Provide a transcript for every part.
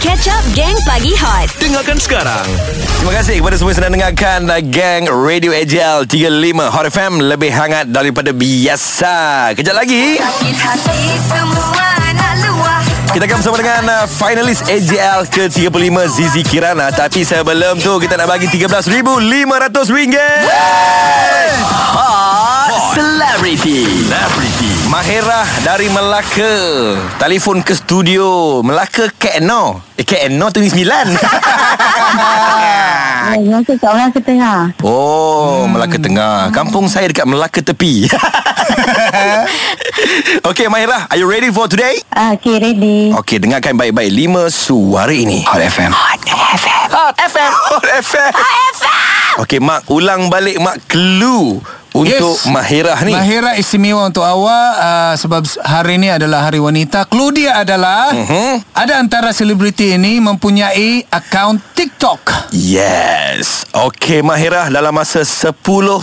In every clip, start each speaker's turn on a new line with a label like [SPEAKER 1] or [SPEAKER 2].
[SPEAKER 1] Catch Up Gang Pagi Hot
[SPEAKER 2] Dengarkan sekarang Terima kasih kepada semua yang sedang dengarkan uh, Gang Radio AJL 35 Hot FM Lebih hangat daripada biasa Kejap lagi
[SPEAKER 1] Sakit hati semua nak luah
[SPEAKER 2] Kita akan bersama dengan uh, finalis AJL ke-35 Zizi Kirana Tapi sebelum tu kita nak bagi RM13,500 ringgit
[SPEAKER 3] Celebrity
[SPEAKER 2] Mahirah dari Melaka Telefon ke studio Melaka KNO Eh KNO tu ni 9
[SPEAKER 4] Ya, Melaka kat orang setengah.
[SPEAKER 2] Oh, hmm. Melaka Tengah. Kampung saya dekat Melaka Tepi. okay, Mahirah, are you ready for today?
[SPEAKER 4] Ah, okay, ready.
[SPEAKER 2] Okay, dengarkan baik-baik lima suara ini. Hot FM. Hot FM. Hot FM. Hot FM. Hot FM. Okay, Mak, ulang balik Mak clue untuk yes. Mahirah Ah, ni.
[SPEAKER 5] Mahirah lah istimewa untuk awak uh, Sebab hari ini adalah hari wanita Clue dia adalah
[SPEAKER 2] Mhm.
[SPEAKER 5] Ada antara selebriti ini mempunyai akaun TikTok
[SPEAKER 2] Yes. Okay, Mahirah, dalam masa 10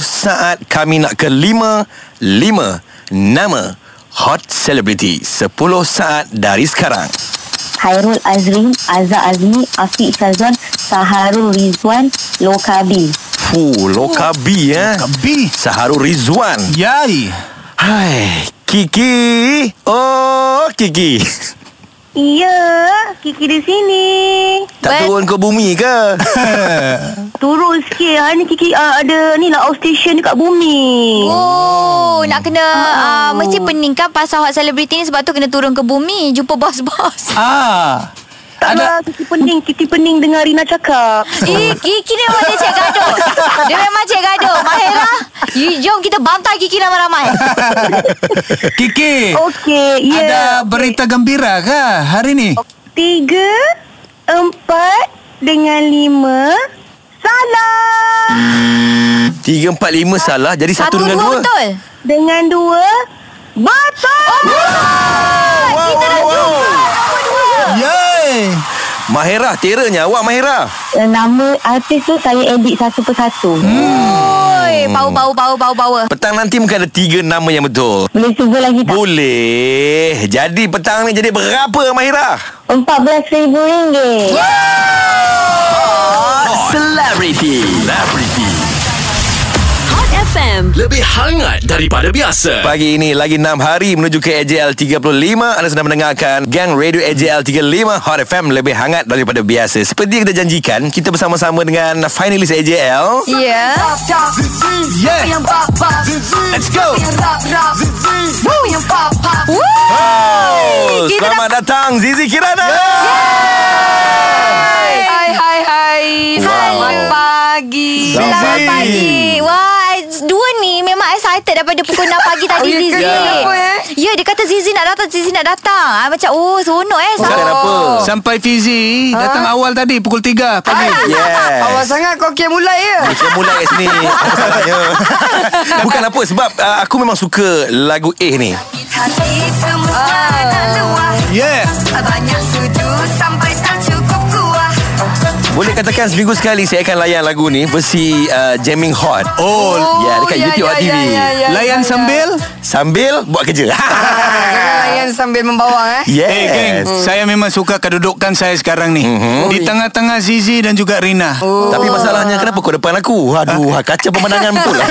[SPEAKER 2] saat kami nak ke lima, lima nama hot celebrity. 10 saat dari sekarang.
[SPEAKER 4] Khairul Azrin, Azza Azmi, Afiq Sazwan, Saharul Rizwan, Lokabi.
[SPEAKER 2] Fuh, Lokabi eh.
[SPEAKER 5] Kabi
[SPEAKER 2] Saharul Rizwan.
[SPEAKER 5] Yai
[SPEAKER 2] Hai, Kiki. Oh, Kiki.
[SPEAKER 4] Ya, Kiki di sini.
[SPEAKER 2] Tak turun ke bumi ke?
[SPEAKER 4] Turun sikit. Hari ni Kiki uh, ada ni lah outstation dekat bumi.
[SPEAKER 6] Oh, nak kena uh, mesti peningkan pasal hot celebrity ni sebab tu kena turun ke bumi jumpa bos-bos.
[SPEAKER 5] Ah
[SPEAKER 4] Tak
[SPEAKER 5] ada-
[SPEAKER 4] lah, Kiki pening. Kiki pening dengar Rina cakap.
[SPEAKER 6] Eh, Kiki ni memang dia cik gaduh. Dia memang cik gaduh. Mahira, you- jom kita bantai Kiki ramai-ramai.
[SPEAKER 7] Oh,
[SPEAKER 5] Kiki
[SPEAKER 4] Okey, ya.
[SPEAKER 5] Ada berita gembira ke hari ini?
[SPEAKER 7] Oh.
[SPEAKER 4] Tiga, empat, dengan lima. Salah.
[SPEAKER 2] Tiga, empat, lima salah. Jadi satu,
[SPEAKER 6] Satu,
[SPEAKER 2] dengan
[SPEAKER 6] dua
[SPEAKER 2] dua.
[SPEAKER 6] betul.
[SPEAKER 4] Dengan dua, batal.
[SPEAKER 6] Kita dah jumpa.
[SPEAKER 5] Yai
[SPEAKER 2] Mahirah, teranya awak Mahirah.
[SPEAKER 4] Eh, nama artis tu saya edit satu persatu. Hmm.
[SPEAKER 6] Oi, bau bau bau bau bau.
[SPEAKER 2] Petang nanti mungkin ada tiga nama yang betul.
[SPEAKER 4] Boleh cuba lagi tak?
[SPEAKER 2] Boleh. Jadi petang ni jadi berapa Mahirah?
[SPEAKER 4] RM14,000.
[SPEAKER 3] Celebrity
[SPEAKER 1] Hot FM
[SPEAKER 3] Lebih hangat daripada biasa
[SPEAKER 2] Pagi ini lagi 6 hari menuju ke AJL 35. Anda sedang mendengarkan Gang Radio AJL 35 Hot FM lebih hangat daripada biasa. Seperti yang kita janjikan, kita bersama-sama dengan finalis AJL.
[SPEAKER 6] Ya.
[SPEAKER 5] Yeah
[SPEAKER 2] Let's go.
[SPEAKER 6] Woo!
[SPEAKER 2] Oh,
[SPEAKER 6] Kita
[SPEAKER 2] selamat datang Zizi Kirana.
[SPEAKER 6] Hai hai hai. Selamat
[SPEAKER 2] Wow.
[SPEAKER 6] pagi. Selamat
[SPEAKER 2] Zizi.
[SPEAKER 6] pagi. Wah, dua ni memang excited daripada pukul 6 pagi tadi oh, Zizi. Kenapa, eh? Ya, dia kata Zizi nak datang, Zizi nak datang. Ah, macam oh, seronok eh.
[SPEAKER 2] Bukan
[SPEAKER 6] sama.
[SPEAKER 2] apa.
[SPEAKER 7] Oh.
[SPEAKER 5] Sampai Fizi datang awal tadi pukul 3 pagi
[SPEAKER 2] Yes.
[SPEAKER 7] Ah. Awal sangat kau kira mulai ya.
[SPEAKER 2] Kita mulai kat sini Apa salahnya Bukan apa Sebab uh, aku memang suka Lagu A ni
[SPEAKER 1] Hati semua nak luah
[SPEAKER 5] Yeah
[SPEAKER 1] Banyak sudu sampai tak cukup kuah
[SPEAKER 2] Boleh katakan seminggu sekali Saya akan layan lagu ni Versi uh, Jamming Hot Oh Ya yeah, dekat
[SPEAKER 7] ya,
[SPEAKER 2] YouTube
[SPEAKER 7] ya,
[SPEAKER 2] yeah, TV
[SPEAKER 7] ya, ya, ya,
[SPEAKER 5] Layan
[SPEAKER 7] ya, ya.
[SPEAKER 5] sambil
[SPEAKER 2] Sambil buat kerja
[SPEAKER 7] Jangan layan sambil membawang eh.
[SPEAKER 2] Yes
[SPEAKER 5] Eh hey, geng, saya memang suka kedudukan saya sekarang ni.
[SPEAKER 2] Mhm.
[SPEAKER 5] Di tengah-tengah Zizi dan juga Rina.
[SPEAKER 2] Oh.
[SPEAKER 7] Oh.
[SPEAKER 2] Tapi masalahnya Kenapa kau depan aku
[SPEAKER 5] Ah.
[SPEAKER 2] Aduh ha, Kaca pemandangan betul lah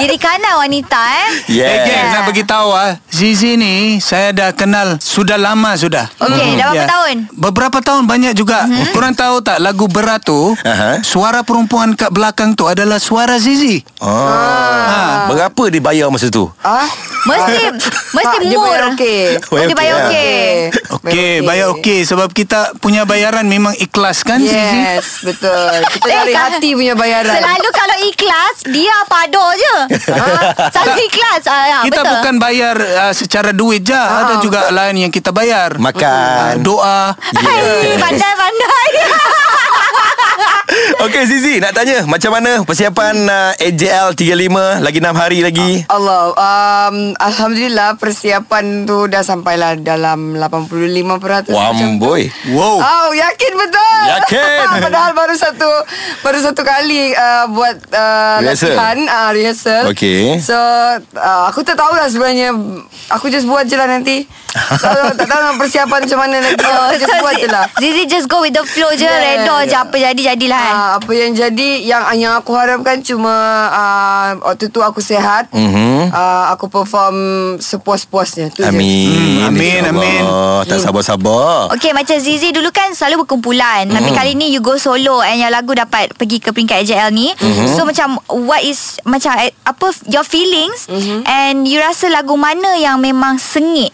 [SPEAKER 6] Kiri kanan wanita eh.
[SPEAKER 5] Eh hey, geng,
[SPEAKER 2] Yes
[SPEAKER 5] nak beritahu ah, Zizi ni saya dah kenal sudah lama sudah.
[SPEAKER 2] Mhm.
[SPEAKER 6] Okey, dah berapa
[SPEAKER 5] Ya.
[SPEAKER 6] tahun? Mhm.
[SPEAKER 5] Beberapa tahun banyak juga. Korang tahu tak lagu berat tu,
[SPEAKER 2] Aha.
[SPEAKER 5] suara perempuan kat belakang tu adalah suara Zizi.
[SPEAKER 2] Ah. Berapa dia bayar masa tu?
[SPEAKER 7] Ah.
[SPEAKER 6] Mesti mesti
[SPEAKER 7] Pak, dia
[SPEAKER 6] mur.
[SPEAKER 7] bayar okey.
[SPEAKER 6] Oh, dia bayar
[SPEAKER 2] Bayar okey,
[SPEAKER 6] okey.
[SPEAKER 5] Okey, bayar okey sebab kita punya bayaran memang ikhlas kan Zizi?
[SPEAKER 7] Yes, betul. Kita
[SPEAKER 6] Eh,
[SPEAKER 7] dari
[SPEAKER 6] kan-
[SPEAKER 7] hati punya bayaran.
[SPEAKER 6] Selalu kalau ikhlas Dia pado je ha? Selalu ikhlas ah, ya,
[SPEAKER 5] Kita
[SPEAKER 6] betul. Ah.
[SPEAKER 5] bukan bayar uh, secara duit je, ada juga lain yang kita bayar.
[SPEAKER 2] Makan
[SPEAKER 5] Doa.
[SPEAKER 6] Hai, Pandai-pandai
[SPEAKER 2] Okey Zizi nak tanya macam mana persiapan uh, AJL 35 lagi 6 hari lagi.
[SPEAKER 7] Allah um, Alhamdulillah Persiapan tu Dah sampailah Dalam 85% macam tu.
[SPEAKER 2] Wamboi.
[SPEAKER 5] Wow.
[SPEAKER 7] Oh, yakin betul.
[SPEAKER 2] Yakin.
[SPEAKER 7] Padahal baru satu baru satu kali uh, buat uh,
[SPEAKER 2] Rehearsal.
[SPEAKER 7] latihan, uh, rehearsal.
[SPEAKER 2] Okey.
[SPEAKER 7] So, uh, aku tak tahu lah sebenarnya. Aku just buat je lah nanti. tak, tak tahu nak persiapan macam mana nanti.
[SPEAKER 6] Oh,
[SPEAKER 7] Aku just
[SPEAKER 6] so
[SPEAKER 7] buat je lah.
[SPEAKER 6] Zizi just go with the flow je
[SPEAKER 7] Yeah, yeah,
[SPEAKER 6] Redor je
[SPEAKER 7] yeah.
[SPEAKER 6] apa jadi Jadilah kan
[SPEAKER 7] Ah, apa yang jadi yang yang aku harapkan cuma ah, waktu tu aku sihat.
[SPEAKER 2] Mhm.
[SPEAKER 7] Ah, aku perform sepuas-puasnya tu je.
[SPEAKER 2] Amin. Ya
[SPEAKER 5] Hmm, amin, amin.
[SPEAKER 2] Allah, tak sabar-sabar.
[SPEAKER 6] Okay macam Zizi dulu kan selalu berkumpulan mm. Tapi
[SPEAKER 7] Hmm.
[SPEAKER 6] kali ni you go solo And yang lagu dapat pergi ke peringkat AJL ni
[SPEAKER 7] Hmm.
[SPEAKER 6] mm-hmm. So macam what is Macam eh, apa f- your feelings
[SPEAKER 7] Hmm.
[SPEAKER 6] mm-hmm. And you rasa lagu mana yang memang sengit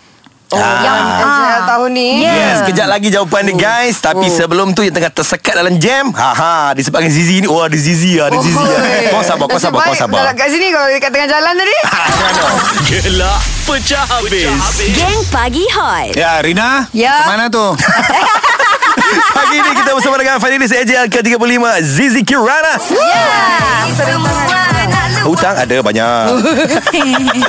[SPEAKER 7] Oh, yang
[SPEAKER 6] Ah.
[SPEAKER 7] ah. tahun ni.
[SPEAKER 2] Yes,
[SPEAKER 6] Yeah.
[SPEAKER 2] kejap lagi jawapan dia
[SPEAKER 5] Oh.
[SPEAKER 2] guys Tapi sebelum tu yang tengah tersekat dalam jam Haha, disebabkan Zizi ni Oh ada Zizi lah, ada Zizi lah
[SPEAKER 7] Oi.
[SPEAKER 2] Kau sabar, kau
[SPEAKER 7] Nasib
[SPEAKER 2] sabar, kau
[SPEAKER 7] baik
[SPEAKER 2] sabar Ah.
[SPEAKER 7] Kalau kat sini Kalau dekat tengah jalan tadi
[SPEAKER 3] Gelak pecah habis.
[SPEAKER 8] Geng Pagi Hot.
[SPEAKER 5] Ya, Rina. Macam
[SPEAKER 7] Ya.
[SPEAKER 5] mana tu?
[SPEAKER 2] Pagi ni kita bersama dengan Fanilis AJL ke-35 Zizi Kirana
[SPEAKER 7] Ah.
[SPEAKER 1] Semua nak lupa
[SPEAKER 2] Hutang ada banyak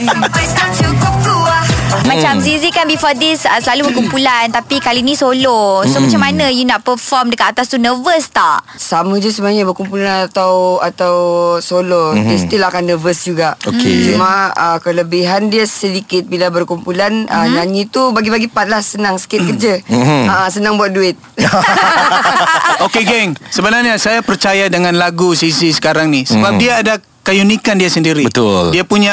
[SPEAKER 1] Sampai tak cukup kuah
[SPEAKER 2] Hmm.
[SPEAKER 6] Macam Zizi kan before this uh, Selalu berkumpulan Tapi kali ni solo So
[SPEAKER 2] Hmm.
[SPEAKER 6] macam mana you nak perform Dekat atas tu nervous tak
[SPEAKER 7] Sama je sebenarnya Berkumpulan atau Atau solo mm-hmm. Dia still akan nervous juga
[SPEAKER 2] Mhm. Okey.
[SPEAKER 7] Cuma uh, Kelebihan dia sedikit Bila berkumpulan mm-hmm. uh,
[SPEAKER 2] Mhm.
[SPEAKER 7] Nyanyi tu Bagi-bagi part lah Senang
[SPEAKER 2] Mm.
[SPEAKER 7] sikit kerja mm-hmm. uh, Senang buat duit
[SPEAKER 5] Okey, geng. Sebenarnya saya percaya dengan lagu Sisi sekarang ni. Sebab dia ada keunikan dia sendiri.
[SPEAKER 2] Betul.
[SPEAKER 5] Dia punya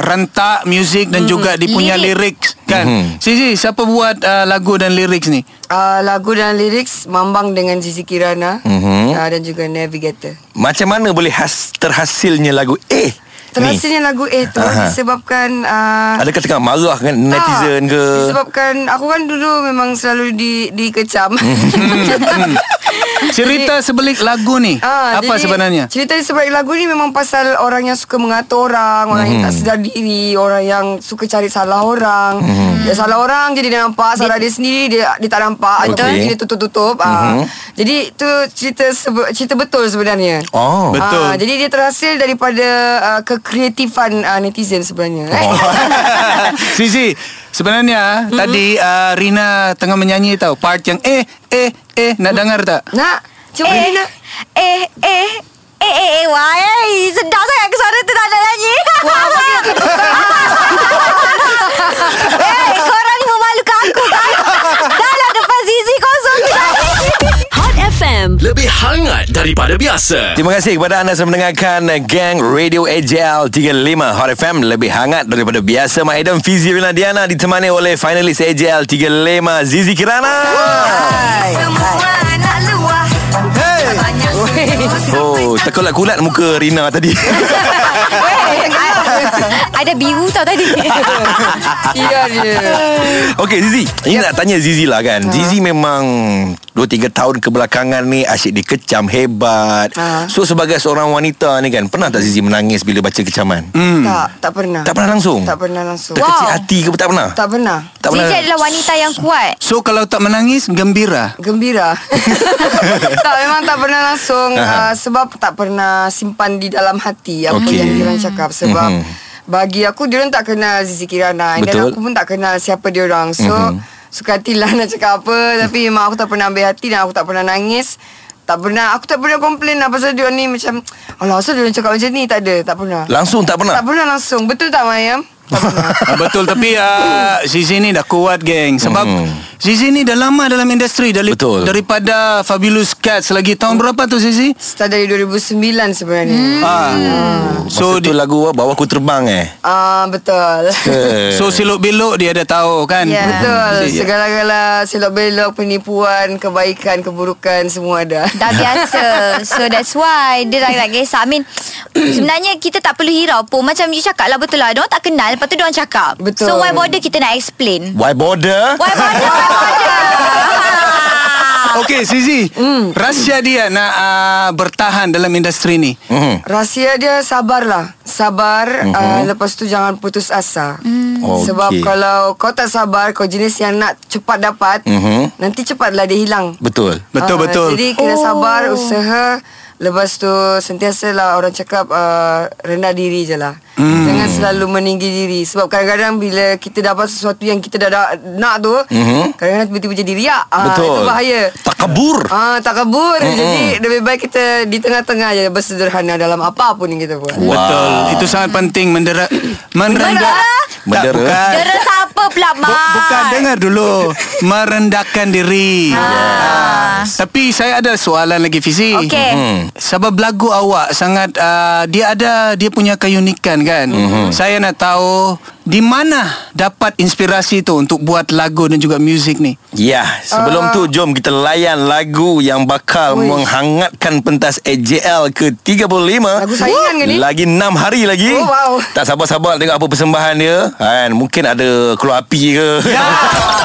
[SPEAKER 5] rentak muzik
[SPEAKER 7] Hmm,
[SPEAKER 5] dan juga dia punya lirik kan. Sisi, siapa buat uh, lagu dan lirik ni?
[SPEAKER 7] uh, Lagu dan lirik Mambang dengan Zizi Kirana
[SPEAKER 2] Mhm.
[SPEAKER 7] mm-hmm. uh, Dan juga Navigator
[SPEAKER 2] Macam mana boleh has, terhasilnya lagu Eh ni
[SPEAKER 7] Terhasilnya lagu A tu
[SPEAKER 2] Aha.
[SPEAKER 7] Disebabkan uh,
[SPEAKER 2] Adakah tengah marah dengan netizen
[SPEAKER 7] Tak.
[SPEAKER 2] ke
[SPEAKER 7] Disebabkan Aku kan dulu Memang selalu di, dikecam
[SPEAKER 2] Mhm.
[SPEAKER 5] Cerita sebelik lagu ni.
[SPEAKER 7] Ah,
[SPEAKER 5] apa
[SPEAKER 7] jadi
[SPEAKER 5] sebenarnya?
[SPEAKER 7] Cerita di sebalik lagu ni memang pasal orang yang suka mengatur orang, orang yang tak sedar diri, orang yang suka cari salah orang. Dia salah orang jadi dia nampak, salah dia sendiri dia dia tak nampak.
[SPEAKER 2] Betul.
[SPEAKER 7] Jadi dia tutup-tutup. Ah. Jadi tu cerita sebe- cerita betul sebenarnya.
[SPEAKER 2] Oh
[SPEAKER 5] Betul.
[SPEAKER 7] Ah, jadi dia terhasil daripada uh, kekreatifan uh, netizen sebenarnya. Eh?
[SPEAKER 5] Oh. Sisi Sebenarnya mm-hmm.
[SPEAKER 7] Hmm.
[SPEAKER 5] Tadi uh, Rina Tengah menyanyi tau Part yang Eh Eh Eh Nak
[SPEAKER 7] Hmm.
[SPEAKER 5] dengar tak?
[SPEAKER 7] Nak cuba
[SPEAKER 6] Eh
[SPEAKER 7] eh. nak.
[SPEAKER 6] Eh Eh Eh eh eh Wah eh Sedap sangat ke suara tu tak nak nyanyi Wah Eh korang ni memalukan aku kan Dah lah depan Zizi kosong tu nyanyi.
[SPEAKER 8] Hot FM.
[SPEAKER 3] Lebih hangat daripada biasa.
[SPEAKER 2] Terima kasih kepada anda yang mendengarkan eh, Gang Radio AJL 35 Hot FM Lebih hangat daripada biasa Mak Adam Fizi Rina Diana Ditemani oleh finalis AJL 35 Zizi Kirana
[SPEAKER 1] Semua nak luah Banyak serius
[SPEAKER 2] Oh terkulat-kulat muka Rina tadi
[SPEAKER 6] Weh, a- Eh, Ada biru tau tadi Ah,
[SPEAKER 7] Ya dia.
[SPEAKER 2] ah. Okey Zizi Ini
[SPEAKER 7] Ya.
[SPEAKER 2] nak tanya Zizi lah
[SPEAKER 7] Ha.
[SPEAKER 2] kan Zizi memang 2-3 tahun kebelakangan ni Asyik dikecam hebat
[SPEAKER 7] Ha.
[SPEAKER 2] So sebagai seorang wanita ni kan Pernah tak Zizi menangis bila baca kecaman?
[SPEAKER 7] Tak tak pernah.
[SPEAKER 2] Tak pernah langsung?
[SPEAKER 7] Hmm. Tak pernah langsung.
[SPEAKER 2] Terkecil
[SPEAKER 6] Wow.
[SPEAKER 2] hati ke tak pernah?
[SPEAKER 7] Tak pernah.
[SPEAKER 2] tak pernah.
[SPEAKER 6] Zizi adalah wanita yang kuat
[SPEAKER 5] So kalau tak menangis Gembira
[SPEAKER 7] Gembira Tak memang tak pernah langsung uh, Sebab tak pernah simpan di dalam hati Apa
[SPEAKER 2] Okey.
[SPEAKER 7] okay. yang diorang cakap Sebab
[SPEAKER 2] Mhm.
[SPEAKER 7] bagi aku diorang tak kenal Zizi Kirana
[SPEAKER 2] Betul. Mhm.
[SPEAKER 7] Dan aku pun tak kenal siapa diorang So suka hatilah nak cakap apa Tapi memang aku tak pernah ambil hati Dan aku tak pernah nangis tak pernah Aku tak pernah komplain lah Pasal diorang ni macam Alah asal diorang cakap macam ni Tak ada Tak pernah
[SPEAKER 2] Langsung tak pernah?
[SPEAKER 7] Tak pernah langsung Betul tak Mayam? Tak pernah
[SPEAKER 5] Ah, Betul tapi uh, Sisi ni dah kuat geng Sebab mm. Sisi ni dah lama dalam industri dari,
[SPEAKER 2] Hmm. Betul.
[SPEAKER 5] Daripada Fabulous Cats Lagi tahun berapa tu Sisi?
[SPEAKER 7] Start dari 2009 sebenarnya
[SPEAKER 2] Hmm.
[SPEAKER 5] Ah.
[SPEAKER 2] So
[SPEAKER 5] So
[SPEAKER 2] Masa tu
[SPEAKER 5] di,
[SPEAKER 2] lagu apa? Bawa aku terbang eh
[SPEAKER 7] Ah Betul
[SPEAKER 5] So siluk belok dia dah tahu kan
[SPEAKER 7] Yeah. Ya, Betul
[SPEAKER 5] Sisi.
[SPEAKER 7] Segala-gala Silok belok Penipuan Kebaikan Keburukan Semua ada
[SPEAKER 6] Dah biasa So that's why Dia tak, tak kisah I mean Sebenarnya kita tak perlu hirau pun Macam you cakap lah betul lah Diorang tak kenal Lepas tu diorang cakap
[SPEAKER 7] Betul.
[SPEAKER 6] So why bother kita nak explain
[SPEAKER 2] Why border?
[SPEAKER 6] Why bother Why bother
[SPEAKER 5] Okey Sisi Rahsia dia nak uh, Bertahan dalam industri ni
[SPEAKER 2] Mhm.
[SPEAKER 7] Rahsia dia sabarlah Sabar mm-hmm. uh, Lepas tu jangan putus asa mm.
[SPEAKER 2] Oh, Okey.
[SPEAKER 7] Sebab kalau kau tak sabar Kau jenis yang nak cepat dapat
[SPEAKER 2] Mhm.
[SPEAKER 7] Nanti cepatlah dia hilang
[SPEAKER 2] Betul
[SPEAKER 5] Betul
[SPEAKER 7] Ah,
[SPEAKER 5] betul
[SPEAKER 7] Jadi kena sabar Usaha Lepas tu sentiasalah orang cakap uh, rendah diri je lah.
[SPEAKER 2] Hmm.
[SPEAKER 7] Jangan selalu meninggi diri sebab kadang-kadang bila kita dapat sesuatu yang kita dah, dah nak tu,
[SPEAKER 2] Mhm.
[SPEAKER 7] kadang-kadang tiba-tiba jadi riak. Ah,
[SPEAKER 2] Betul. Hmm,
[SPEAKER 7] Itu bahaya.
[SPEAKER 2] Takabur.
[SPEAKER 7] Ah, tak kabur mm Jadi lebih baik kita Di tengah-tengah je Bersederhana dalam apa pun yang kita buat
[SPEAKER 2] Wow.
[SPEAKER 5] Betul. Itu sangat penting mendera merendah. Tak,
[SPEAKER 2] Mendera.
[SPEAKER 5] bukan.
[SPEAKER 6] Dera siapa pula Mak
[SPEAKER 5] Bu- bukan dengar dulu merendahkan diri. Ah. Tapi saya ada soalan lagi Fizi.
[SPEAKER 6] Okey. Mhm.
[SPEAKER 5] Sebab lagu awak sangat uh, dia ada dia punya keunikan kan. Saya nak tahu di mana dapat inspirasi tu untuk buat lagu dan juga muzik ni.
[SPEAKER 2] Ya, sebelum
[SPEAKER 7] Ah.
[SPEAKER 2] tu jom kita layan lagu yang bakal Ui. menghangatkan pentas AJL ke-35.
[SPEAKER 7] Lagu saingan ke ni?
[SPEAKER 2] Lagi 6 hari lagi.
[SPEAKER 7] Oh, wow.
[SPEAKER 2] Tak sabar-sabar nak tengok apa persembahan dia. Kan, mungkin ada keluar api ke.
[SPEAKER 7] Ya.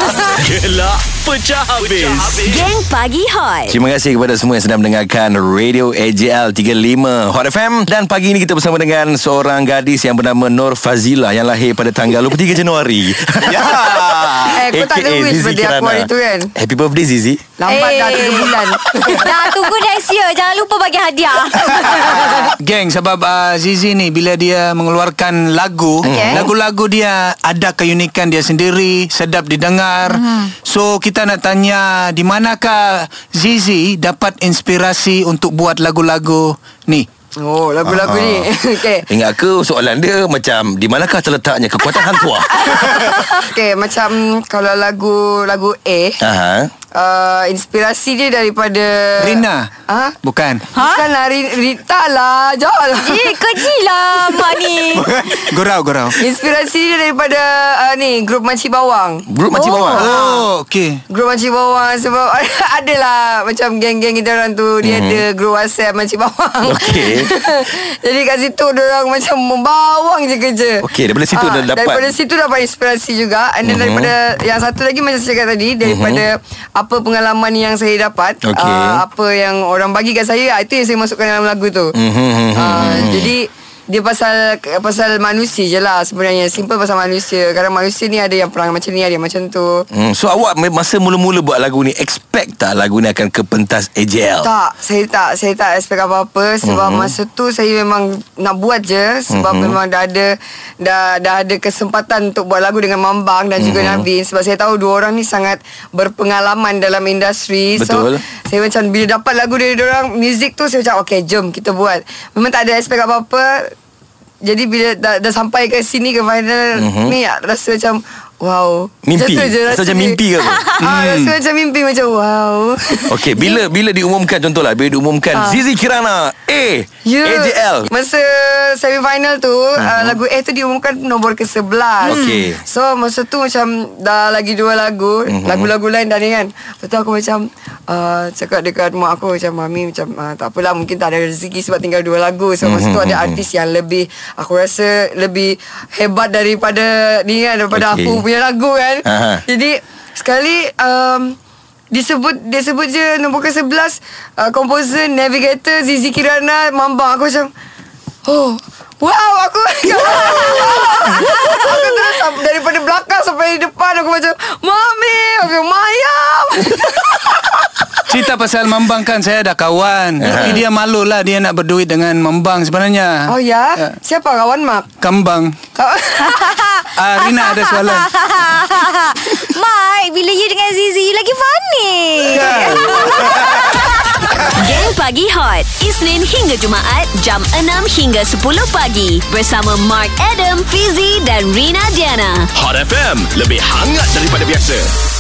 [SPEAKER 3] Gelak pecah habis.
[SPEAKER 8] Geng Pagi Hot.
[SPEAKER 2] Terima kasih kepada semua yang sedang mendengarkan Radio AJL 35 Hot FM Dan pagi ini kita bersama dengan seorang gadis yang bernama Nur Fazila Yang lahir pada tanggal 23 Januari Ya
[SPEAKER 7] Eh, kau tak ada wish birthday aku hari tu kan?
[SPEAKER 2] Happy birthday Zizi
[SPEAKER 7] Lambat dah
[SPEAKER 6] Eh.
[SPEAKER 7] 3 bulan
[SPEAKER 6] Dah tunggu next year Jangan lupa bagi hadiah
[SPEAKER 5] Geng sebab uh, Zizi ni bila dia mengeluarkan lagu,
[SPEAKER 6] Okey.
[SPEAKER 5] lagu-lagu dia ada keunikan dia sendiri, sedap didengar. So kita nak tanya di manakah Zizi dapat inspirasi untuk buat lagu-lagu ni?
[SPEAKER 7] Oh lagu-lagu ni
[SPEAKER 2] Ah,
[SPEAKER 7] okay.
[SPEAKER 2] Ingat ke soalan dia macam Di manakah terletaknya kekuatan hang tua
[SPEAKER 7] okay macam Kalau lagu Lagu A
[SPEAKER 2] Aha.
[SPEAKER 7] uh, Inspirasi dia daripada
[SPEAKER 5] Rina.
[SPEAKER 7] Ha?
[SPEAKER 5] Bukan.
[SPEAKER 7] Bukanlah Ri- Rita lah Jawab lah
[SPEAKER 6] Eh keji lah Mak ni
[SPEAKER 5] Gurau-gurau.
[SPEAKER 7] Inspirasi dia daripada uh, Ni Grup Makcik Bawang Ha.
[SPEAKER 2] Grup Makcik Bawang
[SPEAKER 7] Ah.
[SPEAKER 5] Oh, okey.
[SPEAKER 7] Grup Makcik Bawang Sebab adalah Macam geng-geng kita orang tu Dia ada grup WhatsApp Makcik Bawang
[SPEAKER 2] Mhm. Okey.
[SPEAKER 7] Jadi kat situ dia orang macam Membawang je kerja
[SPEAKER 2] Okey, daripada situ
[SPEAKER 7] Ah,
[SPEAKER 2] dah dapat. Mhm.
[SPEAKER 7] Daripada situ dapat inspirasi juga And then daripada Yang satu lagi macam saya cakap tadi Daripada Apa pengalaman yang saya dapat
[SPEAKER 2] Okey.
[SPEAKER 7] ah, Apa yang orang bagi kat saya ah, Itu yang saya masukkan dalam lagu tu
[SPEAKER 2] Mhm.
[SPEAKER 7] Ah, Jadi dia pasal pasal manusia je lah sebenarnya simple pasal manusia kadang manusia ni ada yang perang macam ni ada yang macam tu
[SPEAKER 2] Hmm, so awak me- masa mula-mula buat lagu ni expect tak lagu ni akan ke pentas AJL?
[SPEAKER 7] Tak, saya tak saya tak expect apa-apa sebab mm-hmm. masa tu saya memang nak buat je sebab mm-hmm. memang dah ada dah dah ada kesempatan untuk buat lagu dengan Mambang dan mm-hmm. juga Navin sebab saya tahu dua orang ni sangat berpengalaman dalam industri.
[SPEAKER 2] Betul.
[SPEAKER 7] So saya macam bila dapat lagu dari orang music tu saya macam okey jom kita buat. Memang tak ada expect apa-apa. Jadi bila dah, dah sampai ke sini ke final mm-hmm. ni rasa macam wow.
[SPEAKER 2] Mimpi.
[SPEAKER 7] Macam tu je
[SPEAKER 2] Rasa
[SPEAKER 7] rasa
[SPEAKER 2] macam
[SPEAKER 7] dia.
[SPEAKER 2] mimpi ke apa? Hmm.
[SPEAKER 7] Ah, rasa macam mimpi macam wow.
[SPEAKER 2] Okey, bila bila diumumkan contohlah bila diumumkan uh. Zizi Kirana A
[SPEAKER 7] Ah. Ya.
[SPEAKER 2] AJL.
[SPEAKER 7] Masa semifinal tu uh-huh. uh, Lagu A tu diumumkan nombor ke-11
[SPEAKER 2] Okey. Mhm.
[SPEAKER 7] So masa tu macam Dah lagi dua lagu uh-huh. Lagu-lagu lain dah ni kan Lepas tu aku macam uh, Cakap dekat mak aku Macam mami macam uh, Tak apalah mungkin tak ada rezeki Sebab tinggal dua lagu So masa
[SPEAKER 2] Mhm,
[SPEAKER 7] tu ada artis yang lebih Aku rasa lebih Hebat daripada Ni kan
[SPEAKER 2] Okey.
[SPEAKER 7] Daripada okay. aku punya lagu kan
[SPEAKER 2] Aha.
[SPEAKER 7] Jadi Sekali um, Disebut Dia sebut je Nombor ke-11 uh, Composer Navigator Zizi Kirana Mambang Aku macam Oh Wow aku Aku terus sam- Daripada belakang Sampai depan Aku macam Mami Aku macam Mayam
[SPEAKER 5] Cerita pasal Mambang kan saya ada kawan. Tapi dia malu lah dia nak berduit dengan Mambang sebenarnya.
[SPEAKER 7] Oh ya Siapa kawan mak
[SPEAKER 5] Kambang. Ah, Rina ada soalan.
[SPEAKER 6] Mak Bila you dengan Zizi You lagi funny
[SPEAKER 5] Kan?
[SPEAKER 8] Geng Pagi Hot. Isnin hingga Jumaat jam 6 hingga 10 pagi bersama Mark Adam, Fizi dan Rina Diana.
[SPEAKER 3] Hot FM. Lebih hangat daripada biasa.